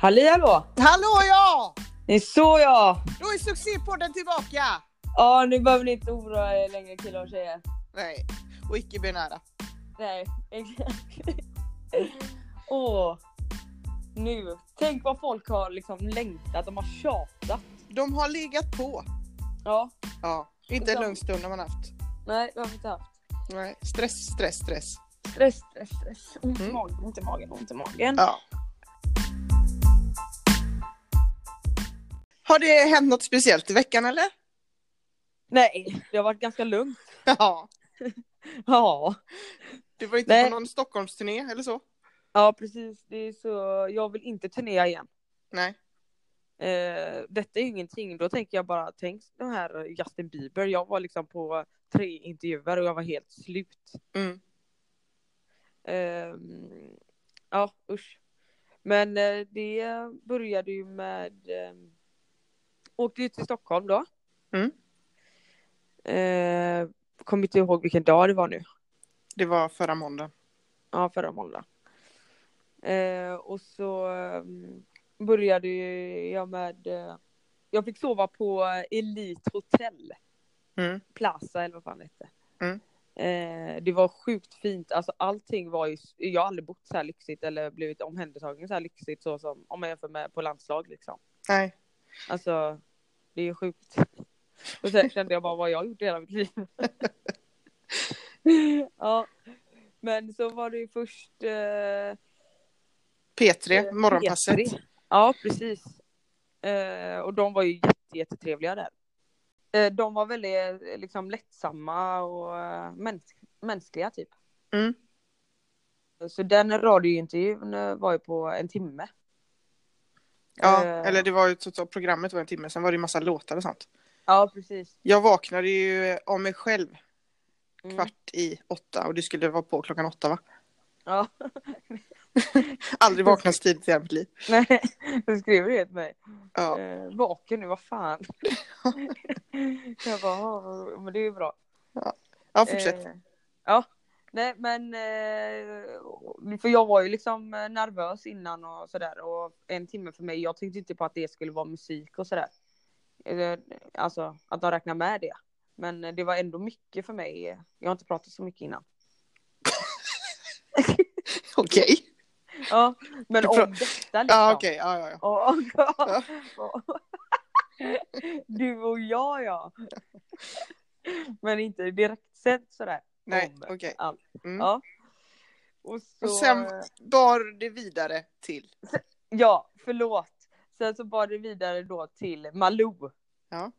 Halli hallå! Hallå ja! Det är så ja! Då är succépodden tillbaka! Ja, nu behöver ni inte oroa er längre killar och tjejer. Nej, och icke-binära. Nej, exakt. Åh. Nu. Tänk vad folk har liksom längtat, de har tjatat. De har legat på. Ja, Ja, inte en De- lugn stund har man haft. nej det har vi inte haft. Nej. Stress, stress, stress. Stress, stress, stress. Ont i Mm. magen, ont i magen, ont i magen. Ja. Har det hänt något speciellt i veckan eller? Nej, det har varit ganska lugnt. Ja. Ja. Du var inte Nej. på någon Stockholmsturné eller så? Ja, precis. Det är så. Jag vill inte turnera igen. Nej. Eh, detta är ju ingenting. Då tänker jag bara, tänk de här Justin Bieber. Jag var liksom på tre intervjuer och jag var helt slut. Mm. Eh, ja, usch. Men eh, det började ju med... Eh, åkte ut till Stockholm då. Mm. Eh, kommer inte ihåg vilken dag det var nu. Det var förra måndagen. Ja, förra måndagen. Eh, och så mm, började ju jag med... Eh, jag fick sova på Elite Hotel Mm. Plaza eller vad fan det hette. Mm. Eh, det var sjukt fint. Alltså allting var ju... Jag har aldrig bott så här lyxigt eller blivit omhändertagen så här lyxigt så som om man jämför med på landslag liksom. Nej. Alltså, det är ju sjukt. Och sen kände jag bara vad jag har gjort i hela mitt liv. ja. Men så var det ju först... Eh, P3, morgonpasset. P3. Ja, precis. Eh, och de var ju jätte, jättetrevliga där. Eh, de var väldigt eh, liksom, lättsamma och eh, mäns- mänskliga typ. Mm. Så den radiointervjun eh, var ju på en timme. Ja, Eh, eller det var ju totalt, programmet var en timme, sen var det ju massa låtar och sånt. Ja, precis. Jag vaknade ju av mig själv Mm. kvart i åtta och det skulle vara på klockan åtta va? Ja. Aldrig vaknat så tidigt i hela mitt liv. Nej, du skrev det till mig. Ja. Eh, vaken nu, vad fan. jag bara, "Ja, men det är ju bra. ja, fortsätt. Eh, ja, nej men eh, för jag var ju liksom eh, nervös innan och sådär och en timme för mig, jag tänkte inte på att det skulle vara musik och sådär. Eh, Alltså att de räknar med det. Men eh, det var ändå mycket för mig. Jag har inte pratat så mycket innan. Okej. Ja, men Du om pra- detta liksom. Ja, okej. Ja, ja, ja. Ja, och- Ja. och- Du och jag ja. Men inte direkt sett sådär. Nej, Om- okej. allt. Mm. Ja. Och, så, eh, Och sen bar det vidare till. Ja, förlåt. Sen så bar det vidare då till Malou. Ja.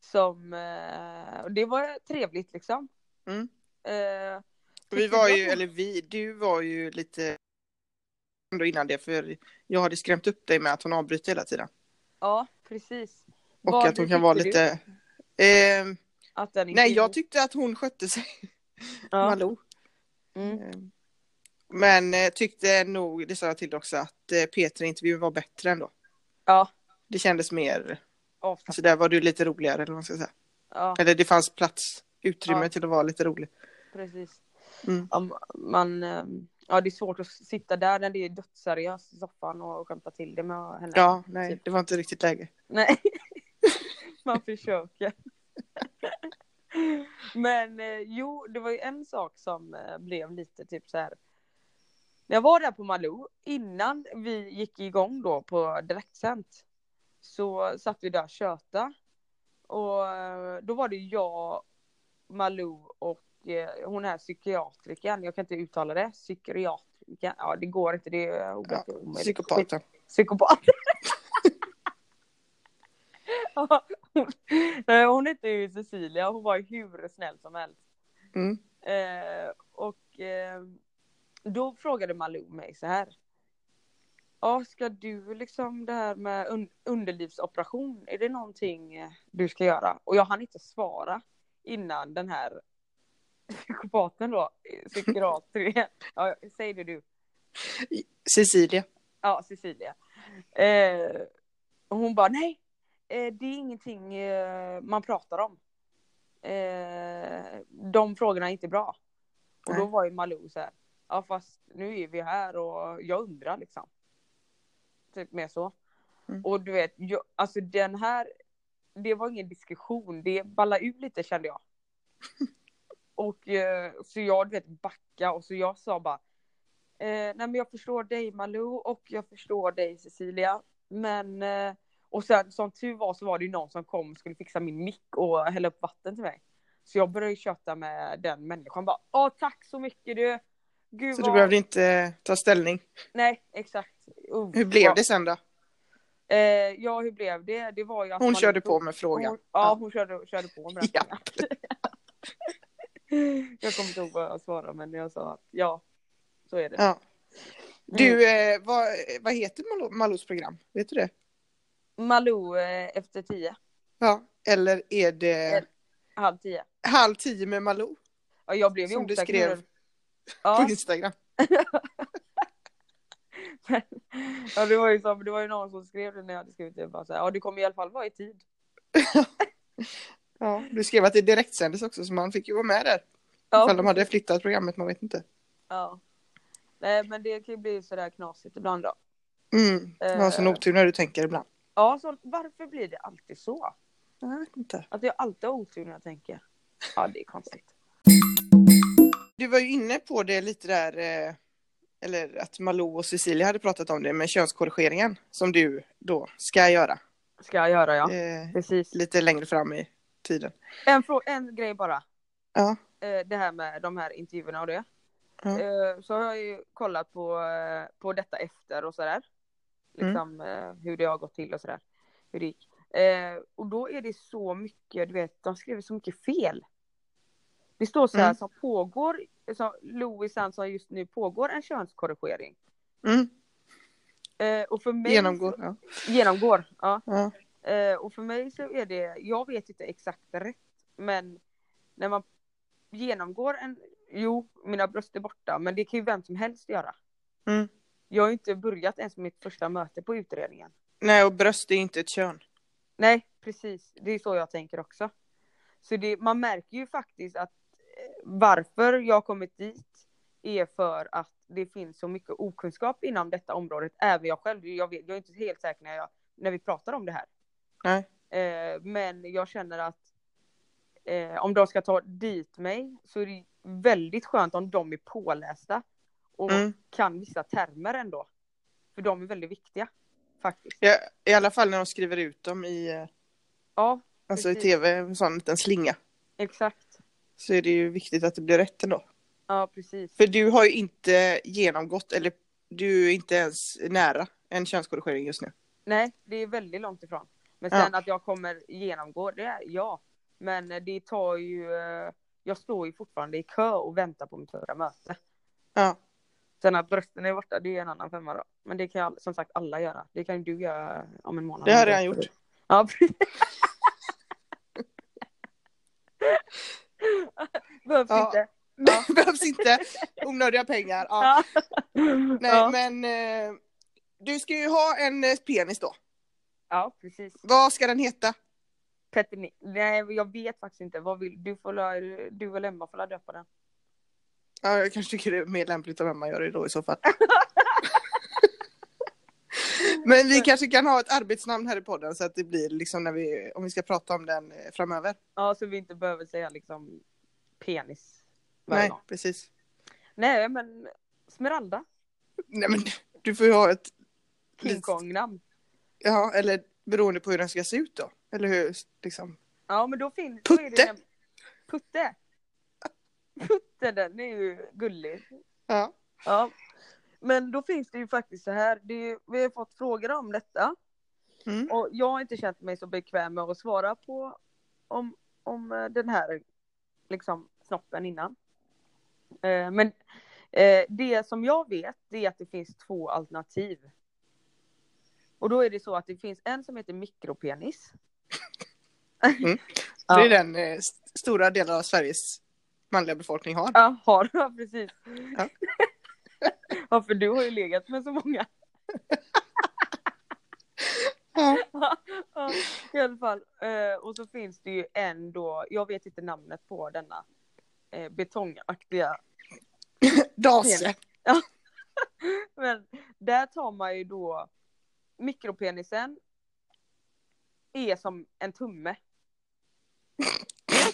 Som, eh, och det var trevligt liksom. Mm. Eh, Vi var ju, eller vi, du var ju lite ändå innan det för jag hade skrämt upp dig med att hon avbryter hela tiden. Ja, precis. Och Vad att hon tyckte kan vara du? lite... Ehm, Att den nej, jag tyckte att hon skötte sig. ja. Malou. mm. Ehm, Men eh, tyckte nog, det sa jag till dig också, att eh, Peter-intervjun var bättre ändå. ja. Det kändes mer, avslappnat. så där var du lite roligare eller vad man ska säga. Ja, Eller det fanns plats, utrymme Ja. till att vara lite rolig. precis. Mm. Om man, ehm, ja, det är svårt att sitta där när det är dödsseriöst i soffan och skämta till det med henne. Ja, nej, Typ. det var inte riktigt läge. Nej. Man försöker. Men eh, jo, det var ju en sak som eh, blev lite typ så här. När jag var där på Malou, innan vi gick igång då på direktsänt, så satt vi där och tjöta. Och eh, då var det jag, Malou och eh, hon här psykiatrikern, jag kan inte uttala det, psykiatrikern, ja det går inte, det är Ja, omöjligt. Psykopaten. Psykopat. Ja, hon- Nej, hon hette ju Cecilia och hon var ju hur snäll som helst. Mm. Eh, och eh, då frågade Malou mig så här. Ja, ska du liksom det här med un underlivsoperation, är det någonting eh, du ska göra? Och jag hann inte svara innan den här psykopaten då, eh, psykiatrikern. Ja, säg det du. Cecilia. Ja, Cecilia. Eh, och hon bara, nej, eh, det är ingenting eh, man pratar om. Eh, de frågorna är inte bra. Och då Nej. var ju Malou så här, ja fast nu är vi här och jag undrar liksom. Typ mer så. Mm. Och du vet, jag, alltså den här, det var ingen diskussion, det ballade ut lite kände jag. och eh, så jag du vet backa och så jag sa bara, eh, nej men jag förstår dig Malou och jag förstår dig Cecilia, men eh, och sen som tur var så var det ju någon som kom och skulle fixa min mick och hälla upp vatten till mig. Så jag började ju köta med den människan bara, åh tack så mycket du! Gud, Så du vad- behövde inte ta ställning. Nej, exakt. Uh, Hur blev vad- det sen då? Eh, ja, hur blev det? Det var ju att Hon man- körde på med frågan. Hon, ja, hon körde, körde på med den Ja. frågan. jag kommer inte ihåg vad jag svarade, men jag sa att ja, så är det. Ja. Du, Mm. eh, vad, vad heter Malou- Malous program? Vet du det? Malou eh, efter tio, Ja. Eller är det Eller- halv tio. Halv tio med Malou Ja, jag blev ju Som du osäker skrev. när du- på Ja, Instagram? ja det, var ju som, det var ju någon som skrev det när jag hade skrivit det. Bara så här, ja, du kommer i alla fall vara i tid. Ja. Du skrev att det direktsändes också så man fick ju vara med där. Ifall de Ja, hade flyttat programmet, man vet inte. ja. Nej, men det kan ju bli sådär knasigt ibland då. Mm. Du har sån Eh. otur när du tänker ibland. Ja, så, varför blir det alltid så? Jag vet inte. Att Alltså, jag alltid har otur när jag tänker. Ja, det är konstigt. Du var ju inne på det lite där, eh, eller att Malou och Cecilia hade pratat om det med könskorrigeringen som du då ska göra. Ska jag göra ja. Eh, Precis. lite längre fram i tiden. En, frå- en grej bara. Ja. Eh, Det här med de här intervjuerna och det. Ja. Eh, Så har jag ju kollat på, eh, på detta efter och sådär. Liksom eh, hur det har gått till och sådär. Hur det gick. Eh, Och då är det så mycket, du vet, de skriver så mycket fel. Det står så här Mm. som pågår, som Louis Svensson just nu pågår en könskorrigering. Mm. Eh, Och för mig Genomgår. Ja. Genomgår, ja. Ja. Eh, och för mig så är det, jag vet inte exakt rätt, men när man genomgår en, jo, mina bröst är borta, men det kan ju vem som helst göra. Mm. Jag har ju inte börjat ens med mitt första möte på utredningen. Nej, och bröst är inte ett kön. Nej, precis, det är så jag tänker också. Så det, man märker ju faktiskt att eh, varför jag har kommit dit är för att det finns så mycket okunskap inom detta området, även jag själv. Jag, vet, jag är inte helt säker när, jag, när vi pratar om det här. Nej. Eh, men jag känner att eh, om de ska ta dit mig så är det väldigt skönt om de är pålästa och Mm. kan vissa termer ändå. För de är väldigt viktiga faktiskt. Ja, I alla fall när de skriver ut dem i, eh, Ja, alltså i Precis. tv, en sån liten slinga. exakt. Så är det ju viktigt att det blir rätt ändå. Ja, precis. För du har ju inte genomgått, eller du är inte ens nära en könskorrigering just nu. Nej, det är väldigt långt ifrån. Men Ja. sen att jag kommer genomgå det, ja. Men eh, det tar ju... eh, Jag står ju fortfarande i kö och väntar på mitt förra möte. Ja. Sen att brösten är borta, det är ju en annan femma då. Men det kan jag, som sagt alla göra. Det kan ju du göra eh, om en månad. Det har jag redan gjort. Ja, precis. Behövs Ja. inte. Ja. Behövs inte onödiga pengar. Ja. Ja. Nej, ja. men eh, du ska ju ha en eh, penis då. ja, precis. Vad ska den heta? Petter, Ni- nej jag vet faktiskt inte. Vad vill du? Får, la- du eller Emma får la döpa den. Ja, jag kanske tycker det är mer lämpligt av Emma gör det då i så fall. men vi kanske kan ha ett arbetsnamn här i podden så att det blir liksom när vi, om vi ska prata om den eh, framöver. Ja, så vi inte behöver säga liksom penis. varje Nej, gång. precis. nej men Smeralda. Nej, men du får ju ha ett, King Lite- Kong-namn. ja, eller beroende på hur den ska se ut då. Eller hur, liksom. Ja, men då finns... då är det Putte. den- Putte! Putte, den är ju gullig. Ja. Ja. Men då finns det ju faktiskt så här, det är, ju- vi har fått frågor om detta Mm. och jag har inte känt mig så bekväm med att svara på om, om eh, den här liksom snoppen innan. Eh, Men eh, det som jag vet det är att det finns två alternativ. Och då är det så att det finns en som heter mikropenis. Ja. Det är den eh, st- stora delen av Sveriges manliga befolkning har. Ja, har du? Precis. Ja. ja, för du har ju legat med så många. Ja. ja, i alla fall. Eh, och så finns det ju en då, jag vet inte namnet på denna eh, betongaktiga. Dase. Men där tar man ju då mikropenisen är som en tumme.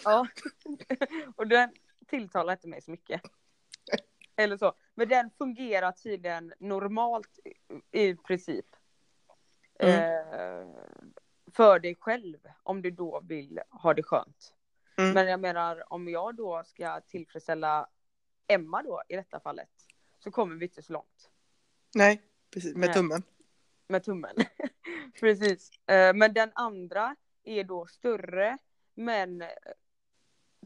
ja. Och den tilltalar inte mig så mycket. Eller så. Men den fungerar tydligen normalt i- i princip. Mm. Eh, för dig själv om du då vill ha det skönt. Mm. Men jag menar om jag då ska tillfredsställa Emma då i detta fallet så kommer vi inte så långt Nej, precis. Med Nej. tummen. med tummen. Precis. Eh, Men den andra är då större men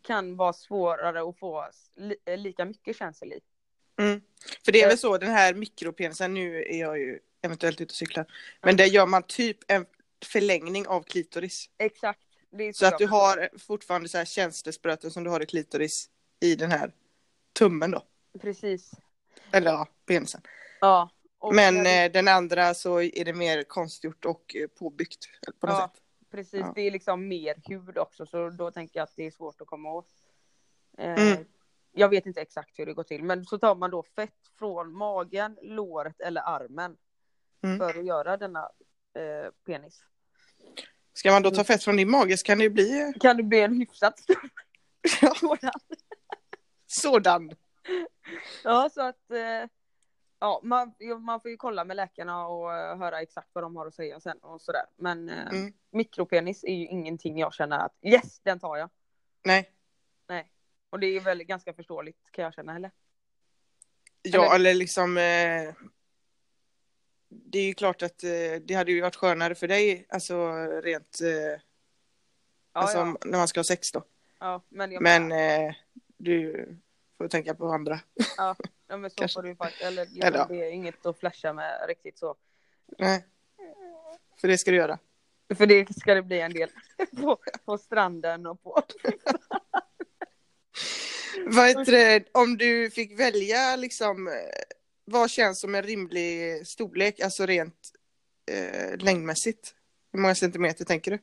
kan vara svårare att få s- li- eh, lika mycket känsel i. Mm. För det är Eh. väl så, den här mikropenisen, nu är jag ju eventuellt ute och cyklar, men där gör man typ en förlängning av klitoris. Exakt. Det är Så att jag du förstår. har fortfarande så här känslespröten som du har i klitoris i den här tummen då. Precis. Eller ja, penisen. Ja. Och Men jag- eh, den andra så är det mer konstgjort och eh, påbyggt på något Ja. sätt. Precis, Ja. det är liksom mer hud också så då tänker jag att det är svårt att komma åt. Eh, Mm. Jag vet inte exakt hur det går till men så tar man då fett från magen, låret eller armen Mm. för att göra denna eh, penis. Ska man då Mm. ta fett från din mage så kan det ju bli eh, Kan det bli en hyfsat stor Ja. sådan? sådan. Ja så att eh, ja, man, ja, man får ju kolla med läkarna och eh, höra exakt vad de har att säga sen och sådär. Men eh, Mm. mikropenis är ju ingenting jag känner att yes den tar jag. Nej. Och det är väl ganska förståeligt kan jag känna eller? Ja, Eller- eller liksom... Eh, det är ju klart att eh, det hade ju varit skönare för dig, alltså rent... Eh, Ja, alltså ja. om- när man ska ha sex då. Ja, men, jag Men menar, eh, du får tänka på andra. ja, men så kanske. får du ju faktiskt, eller, liksom, Eller ja. det är inget att flasha med riktigt så. Nej. För det ska du göra. För det ska det bli en del på, på stranden och på. Vad heter det, om du fick välja liksom... eh, Vad känns som en rimlig storlek, alltså rent eh, längdmässigt? Hur många centimeter tänker du?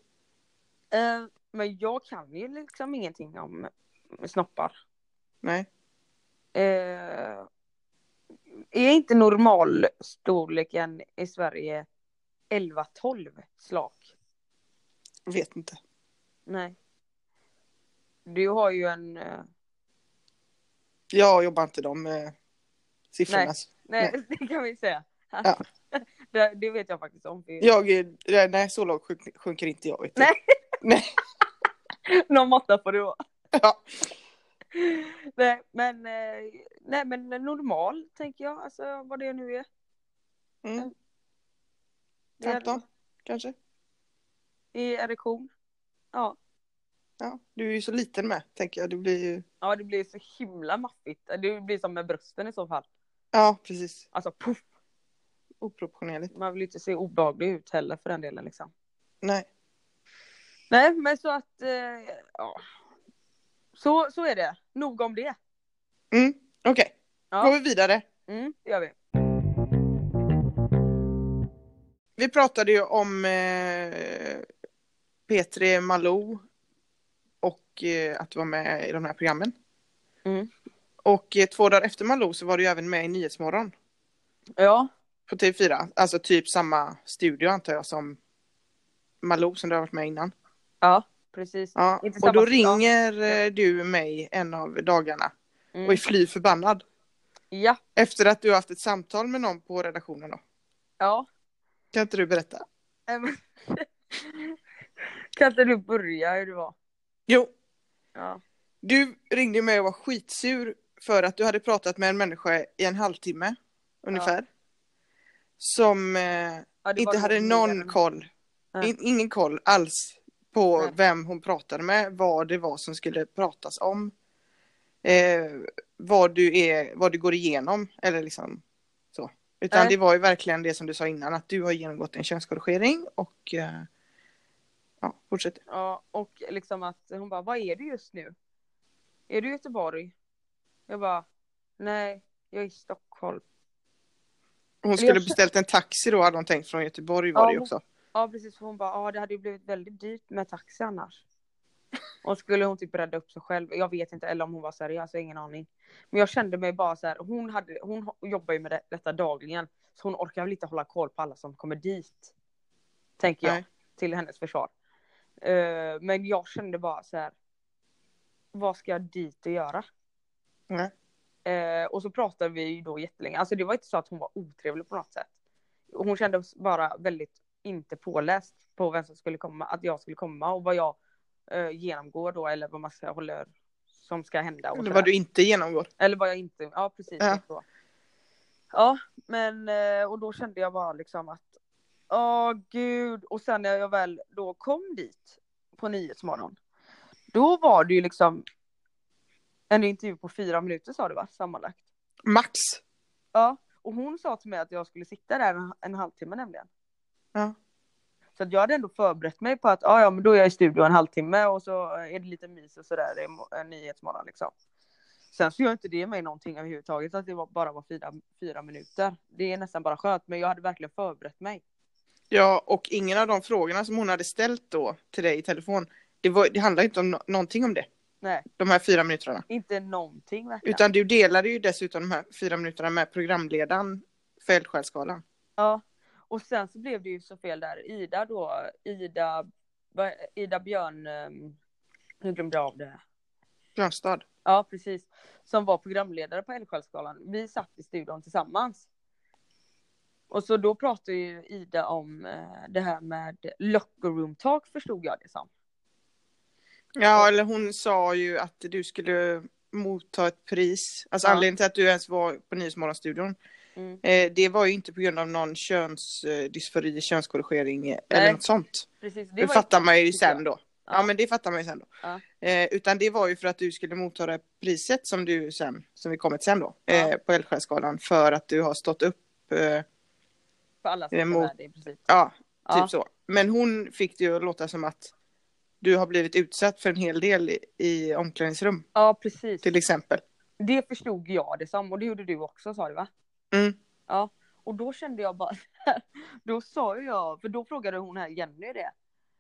Eh, Men jag kan ju liksom ingenting om snoppar. Nej. Eh, Är inte normalstorleken i Sverige 11-12 slak? Vet inte. Nej. Du har ju en... eh, Jag jobbar inte de eh, siffrorna. Nej. så. Nej, det kan vi säga. Ja. Det, det vet jag faktiskt om. för- Jag, är- nej, så lågt sjunk, sjunker inte jag. Vet du. Nej. nej. Någon måtta får det vara. Ja. Nej men, eh, nej men normal tänker jag, alltså vad det nu är. Mm, Det är- 15 kanske. I erektion. Ja. Ja. Du är ju så liten med, tänker jag. Du blir ju... ja, det blir så himla maffigt. Det blir som med brösten i så fall. Ja, precis. Alltså puff, Oproportionerligt. man vill ju inte se obehaglig ut heller för den delen liksom. Nej. Nej men så att, eh, ja. Så, så är det, nog om det. Mm, Okej, Ja. går vi vidare. Mm, det gör vi. Vi pratade ju om eh, P3 Malou och eh, att vara med i de här programmen. Mm. Och eh, två dagar efter Malou så var du ju även med i Nyhetsmorgon. Ja, på TV4. Alltså typ samma studio antar jag som Malou som du har varit med innan. ja precis. Ja. Inte Och då samma- ringer eh, du mig en av dagarna och Mm. är fly förbannad. Ja, Efter att du har haft ett samtal med någon på redaktionen då. ja. Kan inte du berätta? Nej, men- kan inte du börja hur det var? Jo, Ja. du ringde mig och var skitsur för att du hade pratat med en människa i en halvtimme ungefär. Som eh, Ja, det var inte nog hade mer någon än- koll. Nej. In, ingen koll alls på Nej. vem hon pratade med, vad det var som skulle pratas om. Eh, vad, du är, vad du går igenom eller liksom så. Utan Nej. det var ju verkligen det som du sa innan att du har genomgått en könskorrigering och eh, ja, fortsätt. Ja, och liksom att hon bara, vad är du just nu? Är du i Göteborg? Jag bara, nej, jag är i Stockholm. Hon jag skulle kö- beställt en taxi då hade hon tänkt från Göteborg var Ja, det ju hon- också. Ja, precis. Hon bara, ja, det hade ju blivit väldigt dyrt med taxi annars. Och skulle hon typ rädda upp sig själv. Jag vet inte, eller om hon var seriös, jag har ingen aning. Men jag kände mig bara så här, hon, hade, hon ho- jobbar ju med det, detta dagligen. Så hon orkar väl inte hålla koll på alla som kommer dit. Tänker jag, Nej. till hennes försvar. Eh, men jag kände bara så här, vad ska jag dit och göra? Nej. Eh, och så pratade vi ju då jättelänge. Alltså det var inte så att hon var otrevlig på något sätt. Hon kändes bara väldigt inte påläst på vem som skulle komma, att jag skulle komma och vad jag eh, genomgår då eller vad man ska hålla som ska hända. Och Eller sådär. vad du inte genomgår. Eller var jag inte? Ja, precis. Ja. Ja, så. ja men eh, och då kände jag bara liksom att åh gud. Och sen när jag väl då kom dit på Nyhetsmorgon. Då var det ju liksom en intervju på fyra minuter sa du va? Sammanlagt. Max. Ja, och hon sa till mig att jag skulle sitta där en, en halvtimme nämligen. Ja. Så att jag hade ändå förberett mig på att ah, ja, men då är jag i studion en halvtimme och så är det lite mys och sådär i mo- eh, Nyhetsmorgon liksom. Sen så gör inte det mig någonting överhuvudtaget att det var, bara var fyra, fyra minuter. Det är nästan bara skönt, men jag hade verkligen förberett mig. Ja, och ingen av de frågorna som hon hade ställt då till dig i telefon, det, var, det handlade inte om no- någonting om det. Nej, De här fyra minuterna. inte någonting verkligen. Utan du delade ju dessutom de här fyra minuterna med programledaren för Eldsjälsgalan. Ja, och sen så blev det ju så fel där. Ida då, Ida, vad- Ida Björn, ehm, nu glömde jag av det. Grönstad. Ja, precis. Som var programledare på Eldsjälsgalan. Vi satt i studion tillsammans. Och så då pratade ju Ida om eh, det här med locker room talk förstod jag det som. Ja, eller hon sa ju att du skulle motta ett pris. Alltså Ja. anledningen till att du ens var på Nyhetsmorgonstudion, Mm. eh, det var ju inte på grund av någon könsdysfori, könskorrigering eh, eller Nej. något sånt. Precis, Det, det var fattar man ju tycker sen jag. då. Ja. Ja. men det fattar man ju sen då. Ja. Eh, utan det var ju för att du skulle motta det priset som du sen, som vi kommit sen då, Ja. eh, på Eldsjälsgalan för att du har stått upp, eh, för alla som var emot- med i princip. ja, typ Ja, så. Men hon fick det ju att låta som att du har blivit utsatt för en hel del i, i omklädningsrum ja, precis. till exempel. Det förstod jag det som och det gjorde du också sa du va? Mm. Ja, och då kände jag bara, då sa ju jag, för då frågade hon här Jenny det.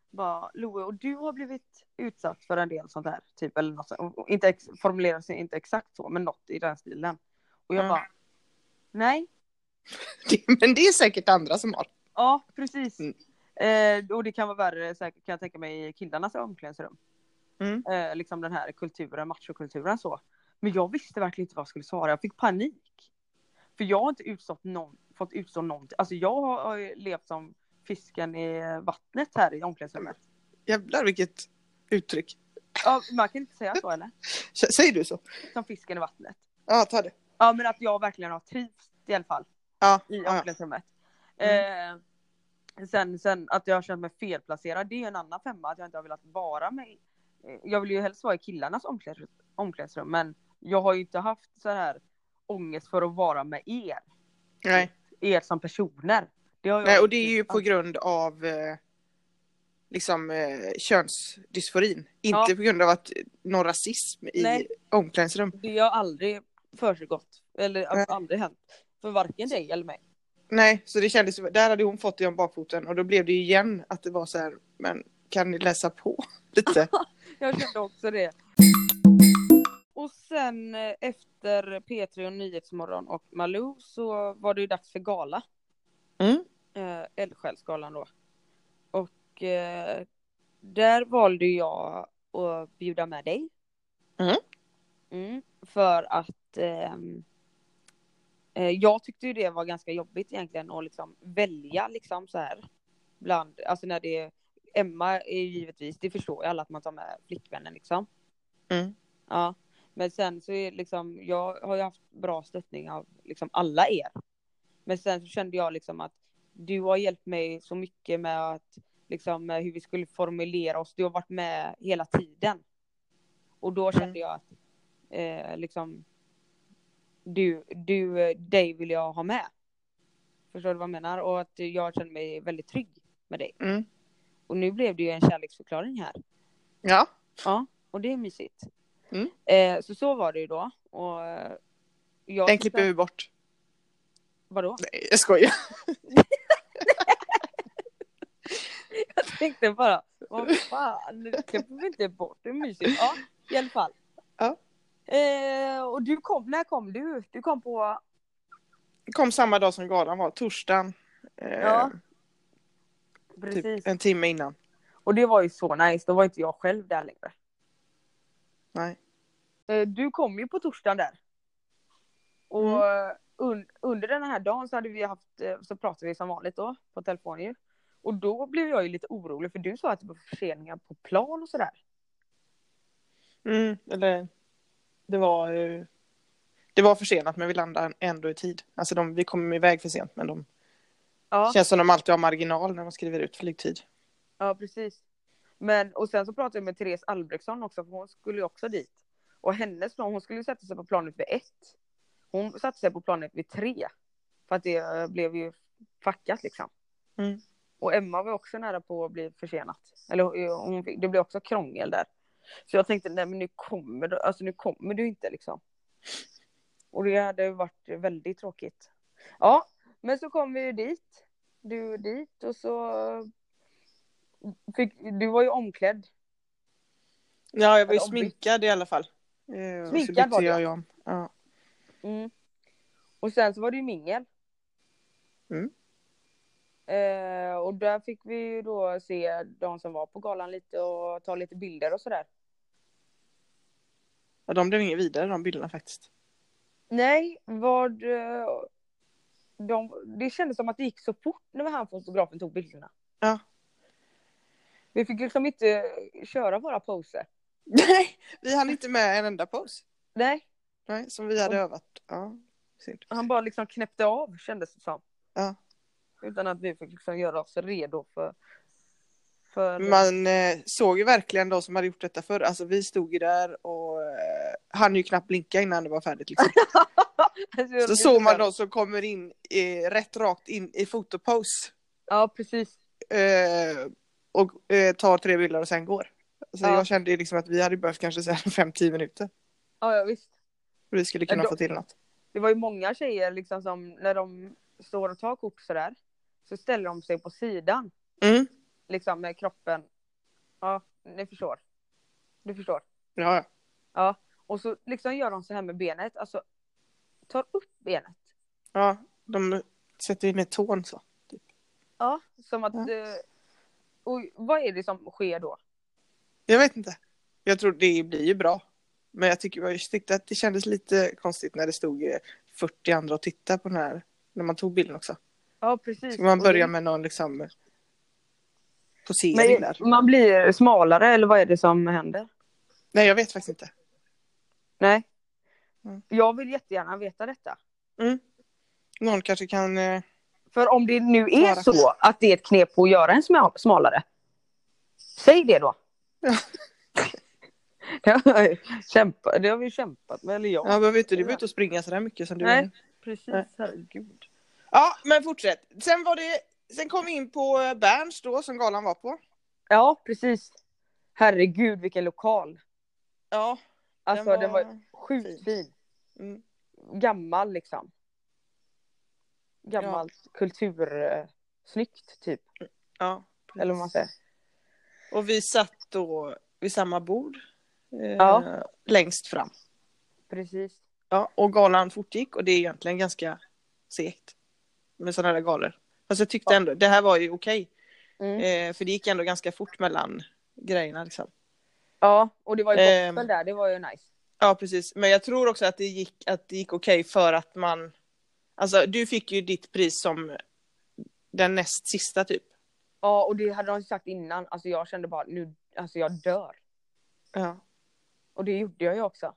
Bara, Loe, och du har blivit utsatt för en del sånt här, typ eller något sånt. Och Inte ex, formulerade sig inte exakt så, men något i den stilen. Och jag Ja. bara, nej, Det- Men det är säkert andra som har. ja precis. Mm. Eh, och det kan vara värre säkert kan jag tänka mig i killarnas omklädningsrum. Mm. Eh, liksom den här kulturen, machokulturen så. Men jag visste verkligen inte vad jag skulle svara, jag fick panik. För jag har inte utstått någon, fått utstå någonting. Alltså jag har har ju levt som fisken i vattnet här i omklädningsrummet. Jävlar vilket uttryck. Ja, man kan inte säga så eller? S- Säger du så? Som fisken i vattnet. Ja, ta det. Ja men att jag verkligen har trivts i alla fall Ja, i ja. Mm. omklädningsrummet. Eh, sen, sen att jag har känt mig felplacerad, det är ju en annan femma. Att jag inte har velat vara med. eh, Jag vill ju helst vara i killarnas omklädningsrum, omklädningsrum men jag har ju inte haft så här ångest för att vara med er. Nej. Er som personer. Det har jag Nej, och det är ju på grund av eh, liksom eh, könsdysforin. Inte Ja. på grund av att eh, någon rasism i Nej. omklädningsrum. Det har aldrig försiggått. Eller Nej. aldrig hänt. För varken dig eller mig. Nej, så det kändes, där hade hon fått det om bakfoten och då blev det ju igen att det var så här, men kan ni läsa på lite? Jag kände också det. Och sen eh, efter P3 och Nyhetsmorgon och Malou så var det ju dags för gala. Mm. Eh, Eldsjälsgalan då. Och eh, där valde jag att bjuda med dig. Mm. Mm, för att ehm, eh, jag tyckte ju det var ganska jobbigt egentligen att liksom välja liksom så här. Bland, alltså när det är Emma är ju givetvis, det förstår ju alla att man tar med flickvännen liksom. Mm. Ja, men sen så är liksom, jag har ju haft bra stöttning av liksom alla er. Men sen så kände jag liksom att du har hjälpt mig så mycket med att liksom med hur vi skulle formulera oss. Du har varit med hela tiden. Och då kände jag att eh, liksom du, du, eh, dig vill jag ha med. Förstår du vad jag menar? Och att jag känner mig väldigt trygg med dig. Mm. Och nu blev det ju en kärleksförklaring här. Ja. Ja, och det är mysigt. Mm. Eh, så så var det ju då. Och eh, jag Den klipper vi bort. Vadå? Nej, jag skojar. Jag tänkte bara, Vad fan, det klipper vi inte bort. Det är mysigt. Ja, i alla fall. Ja. Eh, och du kom, när kom du? Du kom på... Det kom samma dag som galan var, torsdagen. Eh, Ja, typ Precis. en timme innan. Och det var ju så nice, då var inte jag själv där längre. Nej. Eh, Du kom ju på torsdagen där. Och un- under den här dagen så hade vi haft, eh, så pratade vi som vanligt då på telefon ju. Och då blev jag ju lite orolig för du sa att det var förseningar på plan och sådär. Mm, eller det var ju... Det var försenat men vi landade ändå i tid. Alltså de, vi kom iväg för sent men de Ja, känns som de alltid har marginal när de skriver ut flygtid. ja precis. Men och sen så pratade jag med Therese Albrektsson också för hon skulle ju också dit. Och hennes plan, hon skulle ju sätta sig på planet vid ett. Hon satte sig på planet vid tre. För att det eh, blev ju fackat liksom. Mm. Och Emma var också nära på att bli försenat. Eller eh, hon fick, det blev också krångel där. Så jag tänkte, nej men nu kommer du, alltså nu kommer du inte liksom. Och det hade varit väldigt tråkigt. Ja, men så kom vi ju dit. Du och dit och så fick, du var ju omklädd. Ja, jag var ju Eller om vi- sminkad i alla fall. Eh, och så Sminkad bytte var du, jag ju om. Ja. Mm. Och sen så var det ju mingel. Mm. Eh, och där fick vi ju då se de som var på galan lite och ta lite bilder och sådär. Ja, de blev inget vidare de bilderna faktiskt. Nej, vad... eh, De, det kändes som att det gick så fort när han fotografen tog bilderna. Ja. Vi fick liksom inte köra våra poser. Nej, vi hann inte med en enda pose. Nej, Nej, som vi hade övat. Ja, synd. han bara liksom knäppte av kändes det som. Ja. Utan att vi fick liksom göra oss redo för... för Man eh, såg ju verkligen de som hade gjort detta förr. Alltså vi stod ju där och eh, hann ju knappt blinka innan det var färdigt. Liksom. Alltså, Så såg man de som kommer in eh, rätt rakt in i fotopose. Ja, precis. Eh, och eh, tar tre bilder och sen går. Så Ja. jag kände ju liksom att vi hade behövt kanske så här fem, tio minuter. Ja, ja, visst. För vi skulle Ja, kunna då- få till något. Det var ju många tjejer liksom som när de står och tar kort sådär så ställer de sig på sidan Mm. liksom med kroppen. Ja, ni förstår. Du förstår. Ja, ja. Ja, och så liksom gör de så här med benet, alltså tar upp benet. ja de sätter ju ner tån så. Ja, som att. Ja. eh, Och vad är det som sker då? Jag vet inte. Jag tror det blir ju bra. Men jag tycker jag tyckte att det kändes lite konstigt när det stod eh, 40 andra och tittade på den här. När man tog bilden också. Ja, precis. Ska man Och börja det- med någon liksom eh, posering Men där? man blir smalare eller vad är det som händer? Nej, jag vet faktiskt inte. Nej. Mm. Jag vill jättegärna veta detta. Någon kanske kan... eh, För om det nu är Svara. så att det är ett knep på att göra en sma- smalare. Säg det då. Ja. det, har jag ju kämpat, det har vi kämpat med, eller jag. Ja, behöver inte du vara ute och springa sådär mycket som du Nej. är. Precis, Nej. herregud. Ja, men fortsätt. Sen var det... Sen kom vi in på eh, Berns då, som galan var på. Ja, precis. Herregud vilken lokal. Ja, Alltså den var, sjukt fin. fin. Mm. Gammal liksom. Gammalt kultursnyggt typ. Ja, Eller vad man säger. Och vi satt då vid samma bord. Eh, Ja. Längst fram. Precis. Ja, och galan fortgick och det är egentligen ganska segt. Med sådana här galor. Fast jag tyckte Ja. ändå, det här var ju okej. Mm. Eh, för det gick ändå ganska fort mellan grejerna liksom. Ja, och det var ju Ehm. gospel där, det var ju nice. Ja, precis. Men jag tror också att det gick, att det gick okej för att man... Alltså, du fick ju ditt pris som den näst sista typ. Ja, och det hade de sagt innan. Alltså jag kände bara nu, alltså jag dör. Ja. Och det gjorde jag ju också.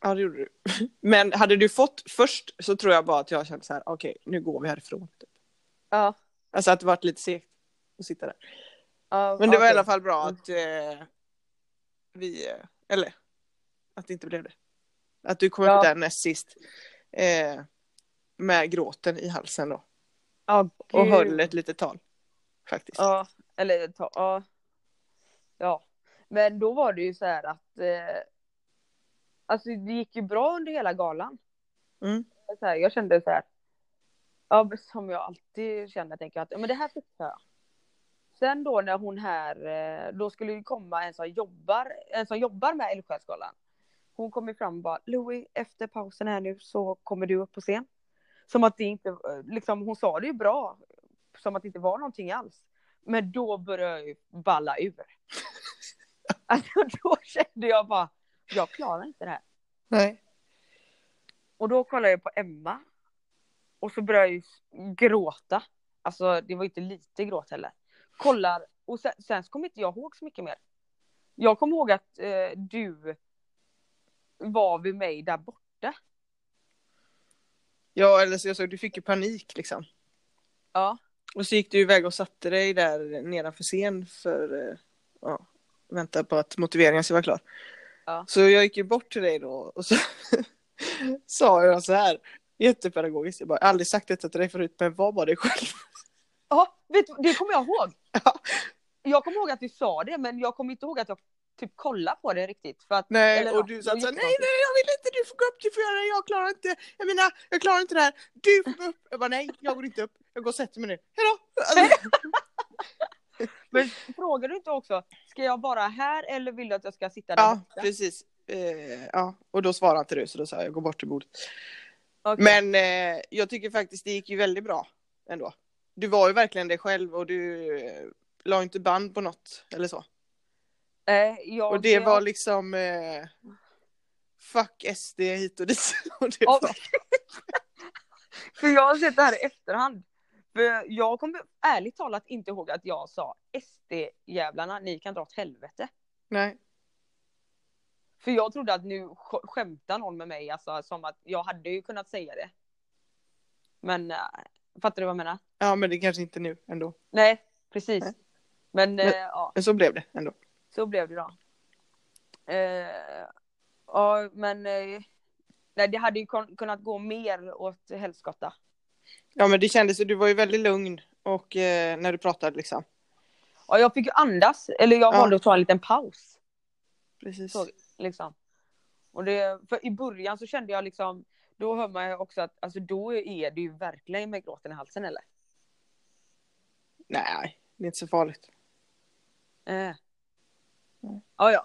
Ja, det gjorde du. Men hade du fått först så tror jag bara att jag kände så här, okej, nu går vi härifrån. Typ. Ja. Alltså att det varit lite segt att sitta där. ja, Men det var i okej. alla fall bra att eh, vi, eh, eller att det inte blev det. Att du kom Ja. upp där näst sist eh, med gråten i halsen då. Ja, Och gud. höll ett litet tal. Faktiskt. Ja, eller ta, ja. Ja. Men då var det ju så här att eh, Alltså det gick ju bra under hela galan. Mm. Så här, jag kände så här. Ja, men som jag alltid känner tänker jag att ja, men det här fixar jag. Sen då när hon här, eh, då skulle ju komma en som jobbar, en som jobbar med Eldsjälsgalan. Hon kom ju fram och bara, Louis efter pausen här nu så kommer du upp på scen. Som att det inte, eh, liksom hon sa det ju bra, som att det inte var någonting alls. Men då började jag ju balla ur. Alltså då kände jag bara, jag klarar inte det här. Nej. Och då kollade jag på Emma. Och så började jag ju gråta. Alltså det var inte lite gråt heller. Kollar, och sen, sen så kommer inte jag ihåg så mycket mer. Jag kommer ihåg att eh, du var vid mig där borta. Ja, eller så jag såg, du fick ju panik liksom. Ja. Och så gick du iväg och satte dig där nedanför scen för eh, ja, vänta på att motiveringen ska vara klar. Ja. Så jag gick ju bort till dig då och så sa jag så här jättepedagogiskt. Jag bara, jag har aldrig sagt detta till dig förut men var bara dig själv. Ja, vet du, det kommer jag ihåg. Ja. Jag kommer ihåg att du sa det men jag kommer inte ihåg att jag typ kollade på det riktigt. För att, Nej, Eller och något. du Det var sa så här, jättekonstigt. nej, nej, jag vill inte, du får gå upp, du får göra det, jag klarar inte, jag menar, jag klarar inte det här, du får gå upp. Jag bara, nej, jag går inte upp, jag går och sätter mig nu, hejdå. Alltså, men frågar du inte också, ska jag vara här eller vill du att jag ska sitta där ja, borta? precis. Eh, ja, och då svarade inte du, så då sa jag, jag går bort till bordet. Okej. Men eh, jag tycker faktiskt det gick ju väldigt bra ändå. Du var ju verkligen dig själv och du eh, la inte band på något eller så. Eh, jag, Och det var liksom eh, fuck SD hit och dit. Och det Ja, var, För jag har sett det här i efterhand. För jag kommer ärligt talat inte ihåg att jag sa SD-jävlarna, ni kan dra åt helvete. nej. För jag trodde att nu sk- skämtar någon med mig, alltså som att jag hade ju kunnat säga det. Men äh, fattar du vad jag menar? Ja, men det kanske inte nu ändå. Nej, precis. Nej. Men, Men- eh, ja, Men så blev det ändå. så blev det då. Eh, ja, men eh, nej, det hade ju kon- kunnat gå mer åt helskotta. Ja men det kändes ju, du var ju väldigt lugn och eh, när du pratade liksom. Ja, jag fick ju andas, eller jag Ja. valde att ta en liten paus. Precis. Så, liksom. Och det, för i början så kände jag liksom, då hör man ju också att alltså då är det ju verkligen med gråten i halsen eller? Nej, det är inte så farligt. Eh. Ja, ja. Eh,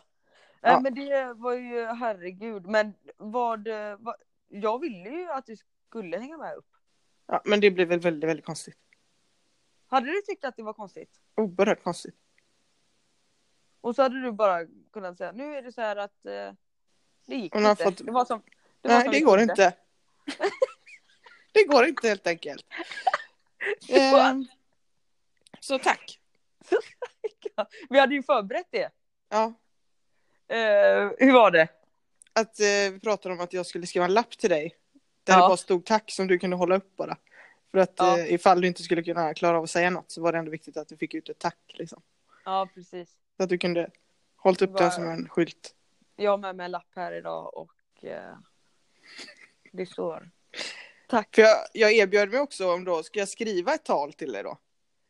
Mm. Ja. Men det var ju, herregud, men vad, eh, vad, jag ville ju att du skulle hänga med upp. Ja, men det blev väl väldigt, väldigt konstigt. Hade du tyckt att det var konstigt? Oerhört konstigt. Och så hade du bara kunnat säga, nu är det så här att eh, det gick Hon har inte. fått- Det var som, det var Nej, som det vi går trodde. inte. det går inte helt enkelt. Ehm, så tack. vi hade ju förberett det. Ja, Eh, hur var det? att eh, vi pratade om att jag skulle skriva en lapp till dig. Där det Ja. bara stod tack som du kunde hålla upp bara. För att Ja. eh, ifall du inte skulle kunna klara av att säga något så var det ändå viktigt att du fick ut ett tack liksom. Ja, precis. Så att du kunde hållit upp Bara- den som en skylt. Jag har med mig en lapp här idag och eh, det står. Tack. För jag, jag erbjöd mig också om då, ska jag skriva ett tal till dig då?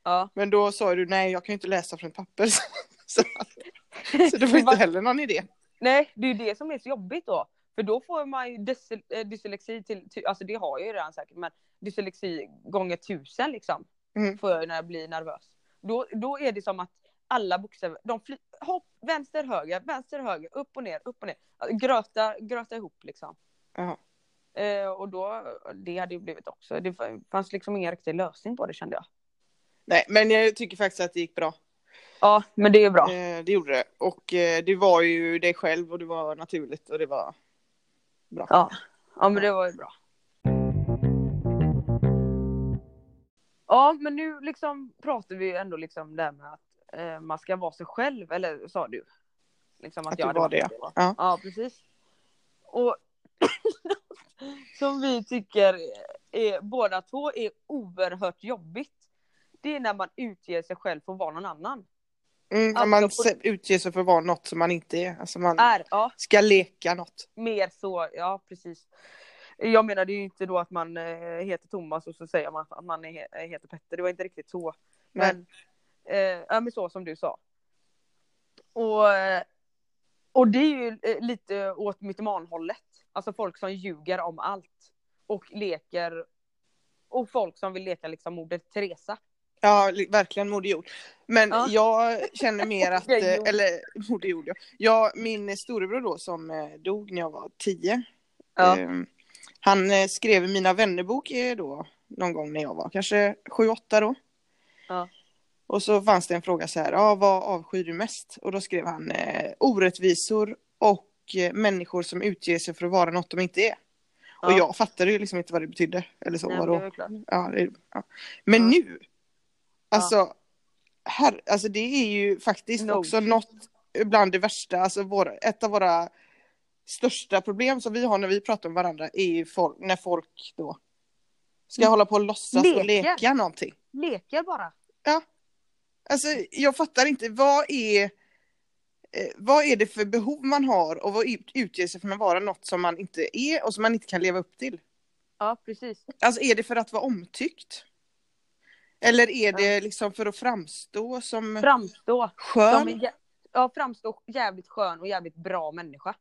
Ja. Men då sa du nej, jag kan ju inte läsa från ett papper. Så, så, så det var inte heller någon idé. Nej, det är ju det som är så jobbigt då. För då får man ju dys- eh, dyslexi till, ty- alltså det har jag ju redan säkert, men dyslexi gånger tusen liksom. Mm. Får jag ju när jag blir nervös. Då, då är det som att alla bokstäver, de fly- hopp, vänster, höger, vänster, höger, upp och ner, upp och ner. Alltså, Gröta, gröta ihop liksom. Ja. Eh, och då, det hade ju blivit också, det f- fanns liksom ingen riktig lösning på det kände jag. Nej, men jag tycker faktiskt att det gick bra. Ja, men det är bra. Eh, det gjorde det. Och eh, det var ju dig själv och det var naturligt och det var bra. Ja. Ja men det var ju bra. Ja men nu liksom pratar vi ju ändå liksom det här med att eh, man ska vara sig själv eller sa du? Liksom att, Att jag du hade var varit det, ja. ja precis. Och som vi tycker är, båda två är oerhört jobbigt. Det är när man utger sig själv för att vara någon annan. Mm, alltså, om man på- se- utger sig för att vara något som man inte är. Alltså man Är, ja. ska leka något. mer så, ja precis. Jag menade ju inte då att man eh, heter Thomas och så säger man att man är, eh, heter Petter, det var inte riktigt så. Nej. Men, eh, ja, men så som du sa. Och, eh, och det är ju eh, lite åt mytomanhållet. Alltså folk som ljuger om allt. Och leker. Och folk som vill leka liksom mordet Teresa. Ja, li- verkligen Moder Jord. Men Ja. jag känner mer att, Okej, eh, jord. eller Moder Jord ja. ja. Min storebror då som eh, dog när jag var tio. Ja. ehm, han eh, skrev i Mina vännerbok eh, då någon gång när jag var kanske sju, åtta då. Ja. Och så fanns det en fråga så här, ja, vad avskyr du mest? Och då skrev han eh, orättvisor och eh, människor som utger sig för att vara något de inte är. Och Ja. jag fattade ju liksom inte vad det betydde. Eller så, Nej, men vadå? det är väl klart. Ja, det, ja. Men Ja. nu, alltså, Här, alltså det är ju faktiskt Nog. också något bland det värsta, alltså våra, ett av våra största problem som vi har när vi pratar om varandra är ju folk, när folk då ska Mm. hålla på och låtsas och Leker. leka någonting. Leker bara. Alltså jag fattar inte, vad är, eh, vad är det för behov man har och vad ut- utger sig för att vara något som man inte är och som man inte kan leva upp till? Ja, precis. Alltså är det för att vara omtyckt? Eller är det liksom för att framstå som Framstå. skön? Som en jä- ja, framstå jävligt skön och jävligt bra människa.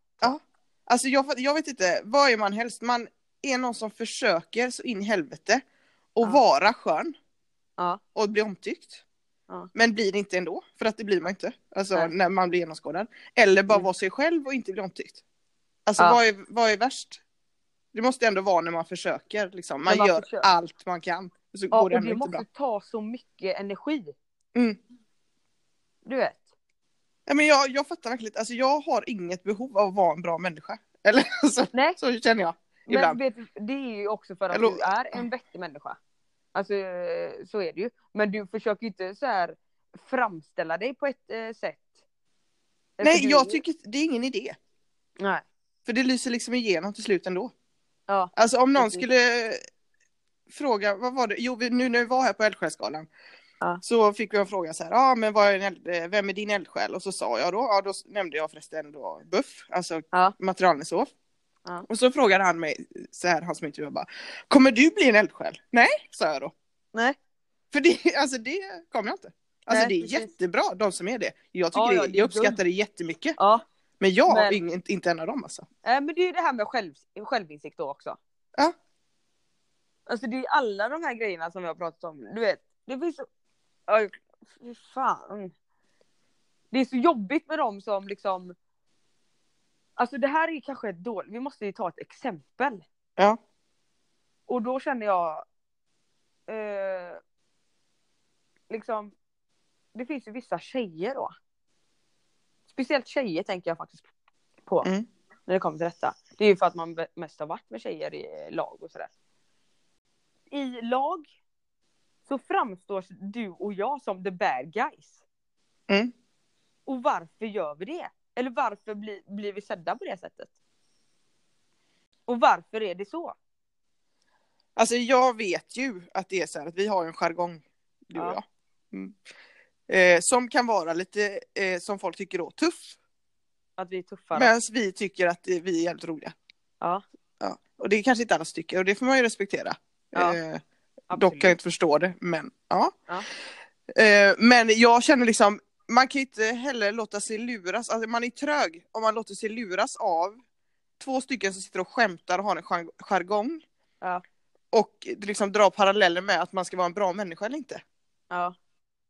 Alltså jag, fatt- jag vet inte, vad är man helst? Man är någon som försöker så in i helvete och Ja. vara skön Ja. och bli omtyckt. Ja. Men blir det inte ändå, för att det blir man inte. Alltså Nej. när man blir genomskådad. Eller bara Mm. vara sig själv och inte bli omtyckt. Alltså Ja. vad, är, vad är värst? Det måste ändå vara när man försöker liksom. Man, man gör försöker. allt man kan. Så Ja, går det och ändå det inte måste bra. ta så mycket energi. Mm. Du vet. Ja, men jag, jag fattar verkligen inte. Alltså jag har inget behov av att vara en bra människa. Eller så, Nej, så känner jag. men Ibland. vet, du, det är ju också för att Eller- du är en vettig människa. Alltså eh, så är det ju. Men du försöker ju inte så här framställa dig på ett eh, sätt. För Nej, Alltså, du- jag tycker det är ingen idé. Nej. För det lyser liksom igenom till slut ändå. Ja. Alltså om någon Precis. skulle fråga, vad var det? Jo, vi, nu när vi var här på Eldsjälsgalan. Ja. Så fick vi en fråga så här, ja ah, men vad är en eld, eh, vem är din eldsjäl? Och så sa jag då, ja då nämnde jag förresten då Buff, alltså Ja. materialnesov. Ja. Och så frågade han mig, så här, han som intervjuade bara, kommer du bli en eldsjäl? Nej, sa jag då. Nej. För det, alltså det kommer jag inte. Nej, Alltså det är precis. jättebra, de som är det. Jag, tycker Ja, ja, det, det är jag uppskattar det jättemycket. Ja. Men jag är Men- ingen- inte en av dem alltså. Eh, men det är ju det här med själv, självinsikt då också. Ja. Alltså det är alla de här grejerna som vi har pratat om. Du vet, det finns så... Aj, fy fan. Det är så jobbigt med dem som liksom... Alltså det här är kanske ett dåligt... Vi måste ju ta ett exempel. Ja. Och då känner jag... Eh, liksom... Det finns ju vissa tjejer då. Speciellt tjejer tänker jag faktiskt på. Mm. När det kommer till detta. Det är ju för att man be- mest har varit med tjejer i eh, lag och sådär. I lag så framstår du och jag som the bad guys. Mm. Och varför gör vi det? Eller varför bli, blir vi sedda på det sättet? Och varför är det så? Alltså jag vet ju att det är så här att vi har en jargong, du och Ja. jag. Mm. Eh, som kan vara lite, eh, som folk tycker då, tuff. Att vi är tuffare? Medan vi tycker att eh, vi är jävligt roliga. Ja, Ja. Och det kanske inte alla tycker och det får man ju respektera. Ja, eh, absolut. dock kan jag inte förstå det, men ja. Ja. Eh, men jag känner liksom, man kan ju inte heller låta sig luras, alltså man är trög om man låter sig luras av två stycken som sitter och skämtar och har en jar- jargong. Ja. Och liksom dra paralleller med att man ska vara en bra människa eller inte. Ja,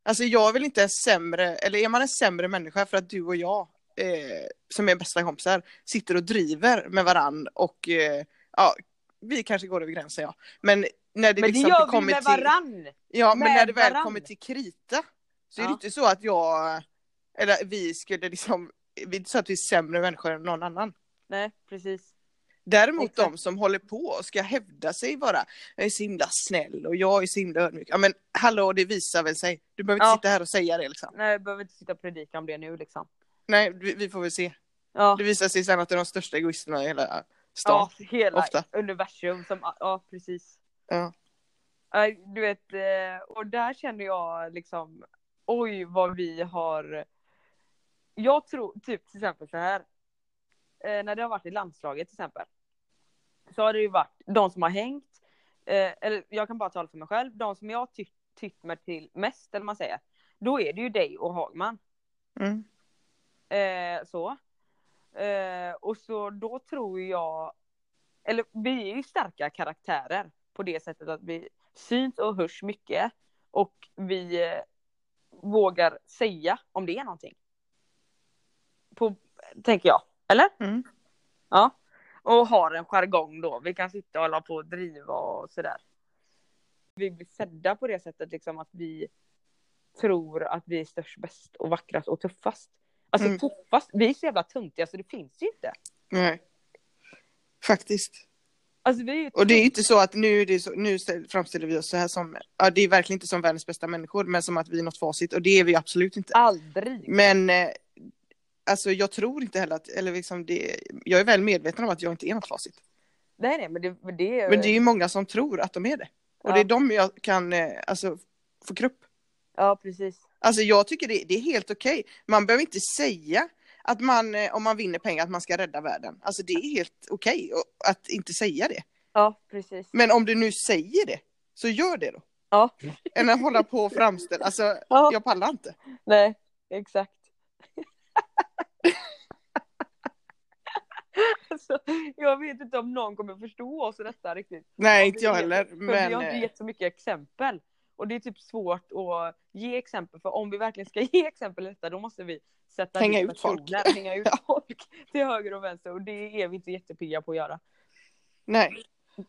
Alltså jag är väl inte en sämre, eller är man en sämre människa för att du och jag, eh, som är bästa kompisar, sitter och driver med varann och eh, ja, vi kanske går över gränsen ja. Men när det, men det liksom gör vi kommer med till, varann! Ja, men med när det väl varann. kommer till krita så är det Ja. inte så att jag, eller vi skulle liksom, det är inte så att vi är sämre människor än någon annan. Nej, precis. Däremot Exakt. de som håller på och ska hävda sig bara. Jag är så himla snäll och jag är så himla ödmjuk. Ja men hallå det visar väl sig. Du behöver inte Ja. sitta här och säga det liksom. Nej, jag behöver inte sitta och predika om det nu liksom. Nej vi, vi får väl se. Ja, Det visar sig sen att det är de största egoisterna i hela stan. ja hela ofta. universum som, ja precis. Ja. Nej, Du vet, eh, och där känner jag liksom, oj vad vi har. Jag tror typ till exempel så här. eh, När det har varit i landslaget till exempel. Så har det ju varit de som har hängt. eh, Eller jag kan bara tala för mig själv. De som jag tyckt tyckt mig till mest, eller vad man säger. Då är det ju dig och Hagman. Mm. Eh, så. Eh, och så då tror jag, eller vi är ju starka karaktärer på det sättet att vi syns och hörs mycket. och vi eh, vågar säga om det är någonting. På, tänker jag. Eller? Mm. Ja. Och har en jargong då. Vi kan sitta och hålla på och driva och sådär. Vi blir sedda på det sättet liksom att vi tror att vi är störst, bäst och vackrast och tuffast. Alltså Mm. tuffast, vi är så jävla töntiga så det finns ju inte. Nej. Faktiskt. Alltså vi är ju Och det är ju inte så att nu, är det så, nu ställ- framställer vi oss så här som, ja det är verkligen inte som världens bästa människor men som att vi är något facit och det är vi absolut inte. aldrig. Men eh, alltså jag tror inte heller att, eller liksom det, jag är väl medveten om att jag inte är något facit. Nej nej men det, men det är Men det är ju många som tror att de är det. Och det Ja. är de jag kan, eh, alltså, få grupp. Ja precis. Alltså jag tycker det, det är helt okej. Man behöver inte säga att man, eh, om man vinner pengar, att man ska rädda världen. Alltså det är helt okej och- att inte säga det. Ja precis. Men om du nu säger det, så gör det då. Ja. Än att hålla på och framställa, alltså Ja. jag pallar inte. Nej, exakt. alltså, jag vet inte om någon kommer förstå oss i detta riktigt. Nej, Ja, inte jag vi- heller. För vi Men har inte eh, gett så mycket exempel. Och det är typ svårt att ge exempel för om vi verkligen ska ge exempel i detta då måste vi sätta Hänga dit ut folk. personer, Hänga ut folk till höger och vänster och det är vi inte jättepigga på att göra. nej.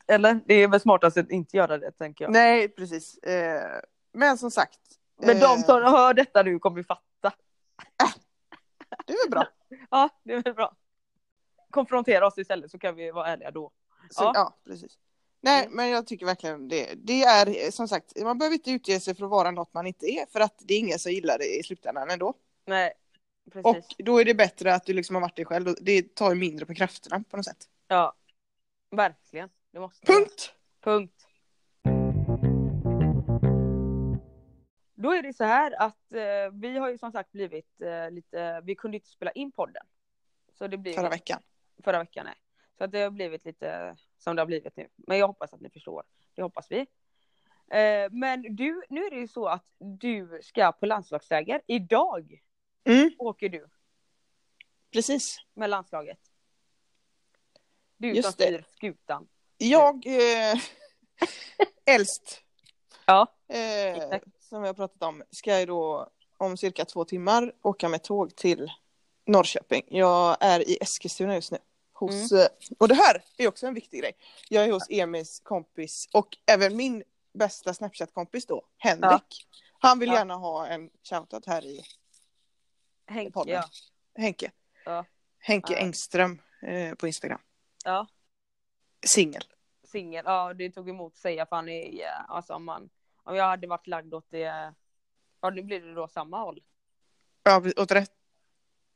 Eller? Det är väl smartast att inte göra det tänker jag. nej, precis. Eh, men som sagt. Men de eh, som hör detta nu kommer ju fatta. Det är väl bra. Ja, det är väl bra. Konfrontera oss istället så kan vi vara ärliga då. Så, Ja. ja. precis. Nej, Mm. men jag tycker verkligen det. Det är eh, som sagt, man behöver inte utge sig för att vara något man inte är, för att det är ingen som gillar det i slutändan ändå. Nej, precis. Och då är det bättre att du liksom har varit dig själv. och Det tar ju mindre på krafterna på något sätt. Ja, verkligen. Det måste Punkt! Punkt. Då är det så här att eh, vi har ju som sagt blivit eh, lite, vi kunde inte spela in podden. Så det blir Förra veckan. förra veckan. Nej. Så att det har blivit lite som det har blivit nu. Men jag hoppas att ni förstår. Det hoppas vi. Eh, men du, nu är det ju så att du ska på landslagsläger. Idag Mm, åker du precis. med landslaget. Du Just som det. styr skutan. Jag, eh, äldst, Ja. eh, Exakt. som vi har pratat om, ska ju då om cirka två timmar åka med tåg till Norrköping. Jag är i Eskilstuna just nu. Hos, Mm. eh, Och det här är också en viktig grej. Jag är hos Emils kompis och även min bästa Snapchat-kompis då, Henrik. Han vill Ja. gärna ha en shoutout här i Henke. podden. Ja. Henke. Ja. Henke Ja. Engström eh, på Instagram. ja. Singel. singel. Ja, det tog emot att säga för han är, ja, alltså om man, om jag hade varit lagd åt det, ja nu blir det då samma håll. Ja, åt rätt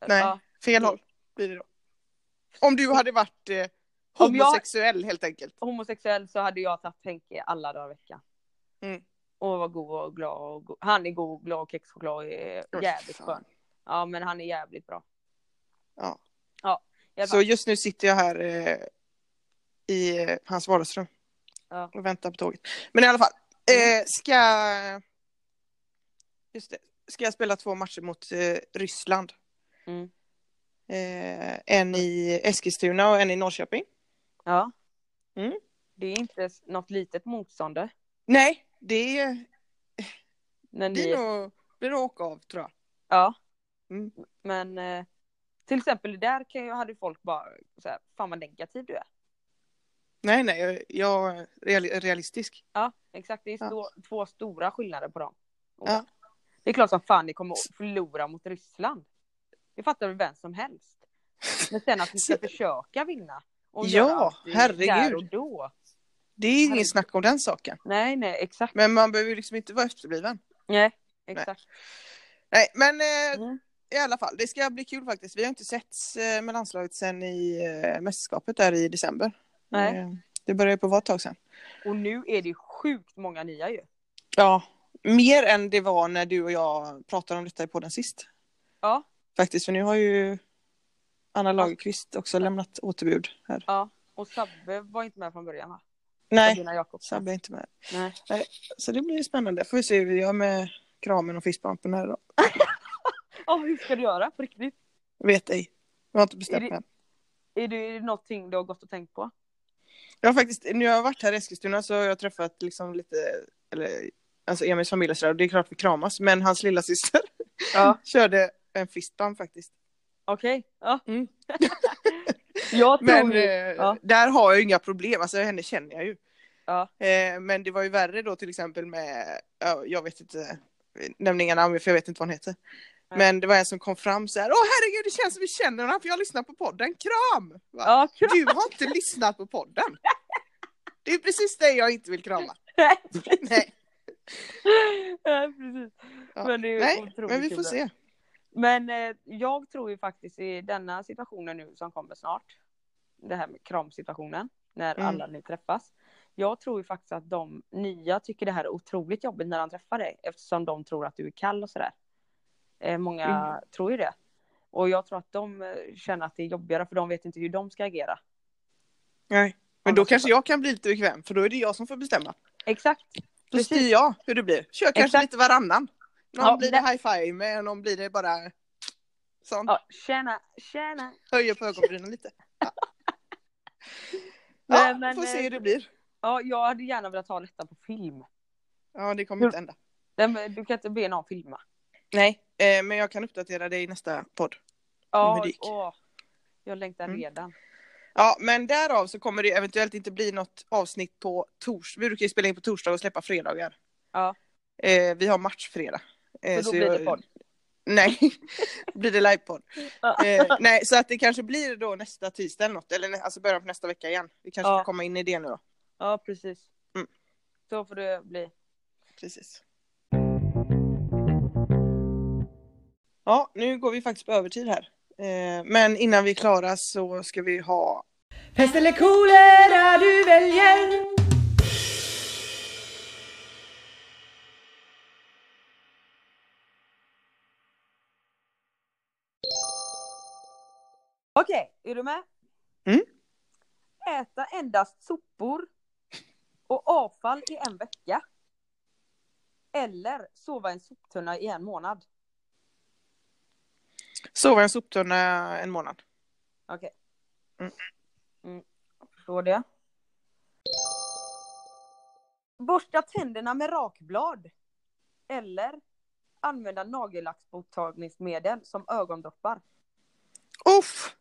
Nej. Ja, Fel håll blir det då. Om du hade varit eh, Om jag- homosexuell helt enkelt. homosexuell så hade jag tagit Henke alla dagar i veckan. Mm. Och var god och glad och go- Han är god och glad och kexchoklad och är Oj, jävligt fan. skön. Ja men han är jävligt bra. Ja. Ja. Jag Så just nu sitter jag här eh, i eh, hans vardagsrum Ja. och väntar på tåget. Men i alla fall, Mm. eh, ska... Just det. Ska jag spela två matcher mot eh, Ryssland? Mm. Eh, en i Eskilstuna och en i Norrköping. ja. Mm. Det är inte s- något litet motstånd eh, Nej, det är, när det ni... är nog... Blir nog åka av tror jag. Ja. Mm. Men eh, till exempel där kan ju, hade folk bara så här, fan vad negativ du är. Nej, nej, jag- jag är reali- realistisk. Ja, exakt. Det är Ja. stå, två stora skillnader på dem. Ja. Det är klart som fan ni kommer att förlora mot Ryssland. Det fattar väl vem som helst. Men sen att ni ska Så- försöka vinna. Och Ja, göra allt i- herregud. Där och då. Det är ingen Herregud. snack om den saken. Nej, nej, exakt. Men man behöver ju liksom inte vara efterbliven. Nej, exakt. Nej, men eh, Mm. i alla fall, det ska bli kul faktiskt. Vi har inte setts eh, med landslaget sen i eh, mästerskapet där i december. Nej. Eh, det började på vara ett tag sedan. Och nu är det sjukt många nya ju. Ja, mer än det var när du och jag pratade om detta i podden sist. Ja. Faktiskt, för nu har ju Anna Lagerqvist också lämnat återbud här. Och Sabbe var inte med från början va? Nej, Sabina Jakobsson. Sabbe är inte med. Nej. Så det blir spännande. Får vi se hur vi gör med kramen och fiskpampen här då. Ja, hur ska du göra på riktigt? Vet ej. Jag har inte Är bestämt det- mig än. Är det någonting du har gått och tänkt på? Jag har faktiskt, nu har jag varit här i Eskilstuna så har jag träffat liksom lite, eller alltså Emils familj och sådär, och det är klart vi kramas, men hans lilla syster Ja. körde en fistbump faktiskt. Okej. Ja. Mm. jag tror Men ju- eh, ja. där har jag ju inga problem, alltså henne känner jag ju. Ja. Eh, men det var ju värre då till exempel med, ja, jag vet inte, nämner inga namn för jag vet inte vad hon heter. Nej. Men det var en som kom fram så här, åh herregud det känns som vi känner varandra för jag lyssnar på podden, kram! Va? Ja, kram. Du har inte lyssnat på podden! Det är precis det jag inte vill krama. Nej, Nej, ja, precis. Ja. Men det är ju Nej, otroligt men vi kul får då. se. Men eh, jag tror ju faktiskt i denna situationen nu som kommer snart. Det här med kramsituationen. När Mm. alla nu träffas. Jag tror ju faktiskt att de nya tycker det här är otroligt jobbigt när de träffar dig. Eftersom de tror att du är kall och sådär. Eh, många Mm. tror ju det. Och jag tror att de eh, känner att det är jobbigare för de vet inte hur de ska agera. Nej. Men Ja, då men kanske så- jag kan bli lite bekväm för då är det jag som får bestämma. Exakt. Då Precis. styr jag hur det blir. Kör kanske Exakt. lite varannan. Någon Ja, blir det men- high five med, någon blir det bara sånt. Ja, tjena, tjena. Höjer på ögonbrynen lite. Ja, Eh, men, får se eh, hur det blir. Ja, jag hade gärna velat ha detta på film. Ja, det kommer hur- inte hända. Nej, men Du kan inte be någon filma. Nej, eh, men jag kan uppdatera dig i nästa podd. Men Ja, det gick. åh, jag längtar Mm. redan. Ja, men därav så kommer det eventuellt inte bli något avsnitt på torsdag. Vi brukar ju spela in på torsdag och släppa fredagar. Ja. Eh, vi har match fredag. Eh, Så då blir jag- det podd. Nej, blir det livepodd. Ja. Eh, nej, så att det kanske blir då nästa tisdag eller något. Eller nä- alltså början på nästa vecka igen. Vi kanske Ja. får komma in i det nu då. Ja, precis. Mm. Så får det bli. Precis. Ja, nu går vi faktiskt på övertid här. Eh, men innan vi är klara så ska vi ha... Pest eller kolera du väljer Okej, är du med? Mm. Äta endast sopor och avfall i en vecka. Eller sova i en soptunna i en månad. Sova i en soptunna en månad. Okej. Mm. Mm. jag Förstår det. Borsta tänderna med rakblad. Eller använda nagellacksborttagningsmedel som ögondroppar. Uff!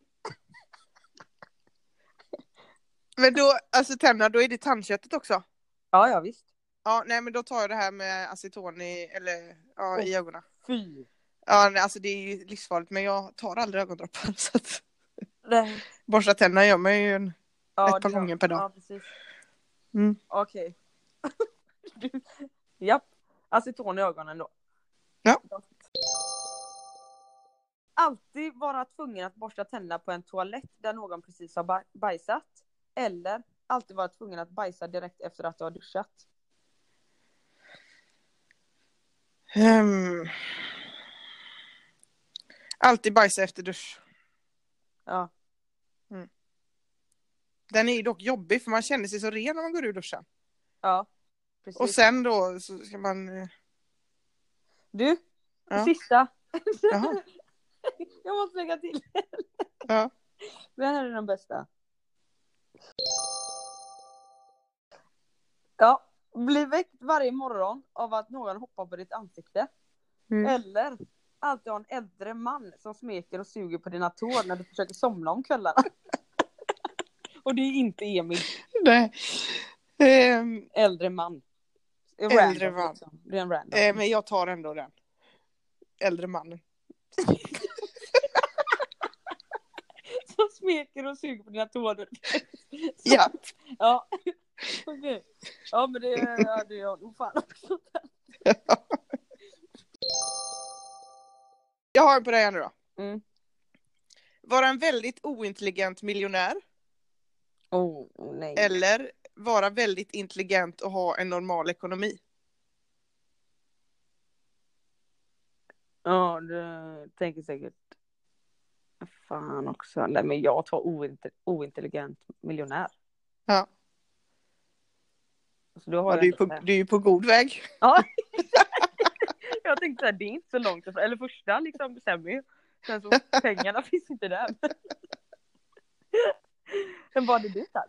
Men då, alltså tänderna, då är det tandköttet också. Ja, ja visst. Ja, nej men då tar jag det här med aceton i, eller, ja, i ögonen. Fy. Ja, nej, alltså det är ju livsfarligt men jag tar aldrig ögondroppar så att Nej. borsta tänderna gör mig ju en... Ja, Ett par det- gånger per dag. Ja, precis. Mm. Okej. Du- Japp. Aceton i ögonen då. Ja. Alltid vara tvungen att borsta tänderna på en toalett där någon precis har ba- bajsat. Eller alltid vara tvungen att bajsa direkt efter att du har duschat. Ehm. Alltid bajsa efter dusch. Ja. Den är ju dock jobbig för man känner sig så ren när man går ur duschen. Ja. Precis. Och sen då så ska man... eh, Du, Ja. sista. Jaha. Jag måste lägga till. Ja. Den här är den bästa. Ja, bli väckt varje morgon av att någon hoppar på ditt ansikte. Mm. Eller alltid ha en äldre man som smeker och suger på dina tår när du försöker somna om kvällarna. och det är inte Emil, Nej. Ehm, äldre man. Det är Äldre random, man. liksom. Det är en random. eh, men jag tar ändå den. Äldre mannen. Som smeker och suger på dina tår. Ja. Ja, okej. Ja men det hade jag nog fan också. Jag har en på dig här nu då. Mm. Vara en väldigt ointelligent miljonär Oh, nej. eller vara väldigt intelligent och ha en normal ekonomi. Ja, du tänker säkert. Fan också. Nej men jag tar ointe- ointelligent miljonär. Ja. Så då har Ja, jag du, är inte på, så här- du är ju på god väg. Ja. jag tänkte att det är inte så långt ifrån. Eller första liksom bestämmer ju. Sen så pengarna finns inte där. Men var det du där?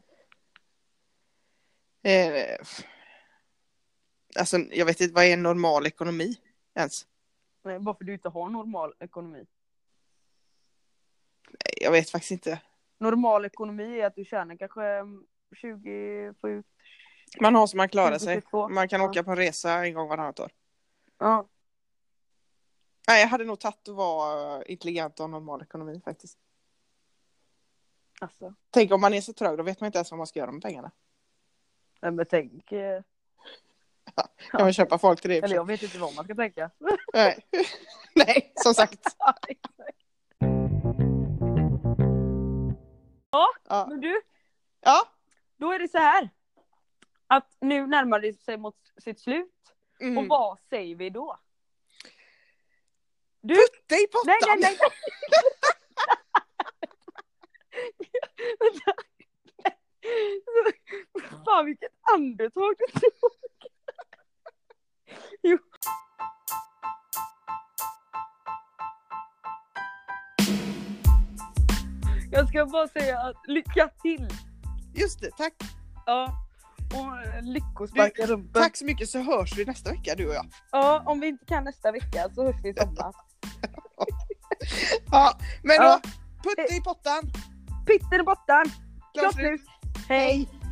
Eh, alltså jag vet inte, vad är en normal ekonomi ens? Nej, Varför du inte har normal ekonomi. Jag vet faktiskt inte. Normal ekonomi är att du tjänar kanske mm, 27, Man har så man klarar sig. 22. Man kan Ja. åka på en resa en gång varannat år. Ja. Nej, jag hade nog tagit att vara eh, intelligent och ha normal ekonomi faktiskt. Alltså. Tänk om man är så trög, då vet man inte ens vad man ska göra med pengarna. Nej, men tänk. eh, Kan man köpa folk till det? i och för Eller sig? jag vet inte vad man ska tänka. Nej. Nej, som sagt. Ja, Men du, ja. då är det så här. Att nu närmar det sig mot sitt slut. Mm. Och vad säger vi då? Det är i pottan! Nej, nej, nej! Vänta. Fan vilket andetag du tog! Jo. Jag ska bara säga att lycka till! Just det, tack. Ja. Och lyckosparkar rumpen. Tack så mycket så hörs vi nästa vecka du och jag. Ja, om vi inte kan nästa vecka så hörs vi i sommar. Ja, men Ja. Eh. då, putte i pottan! Pitten i botten! Klart Klart slut. slut! Hej.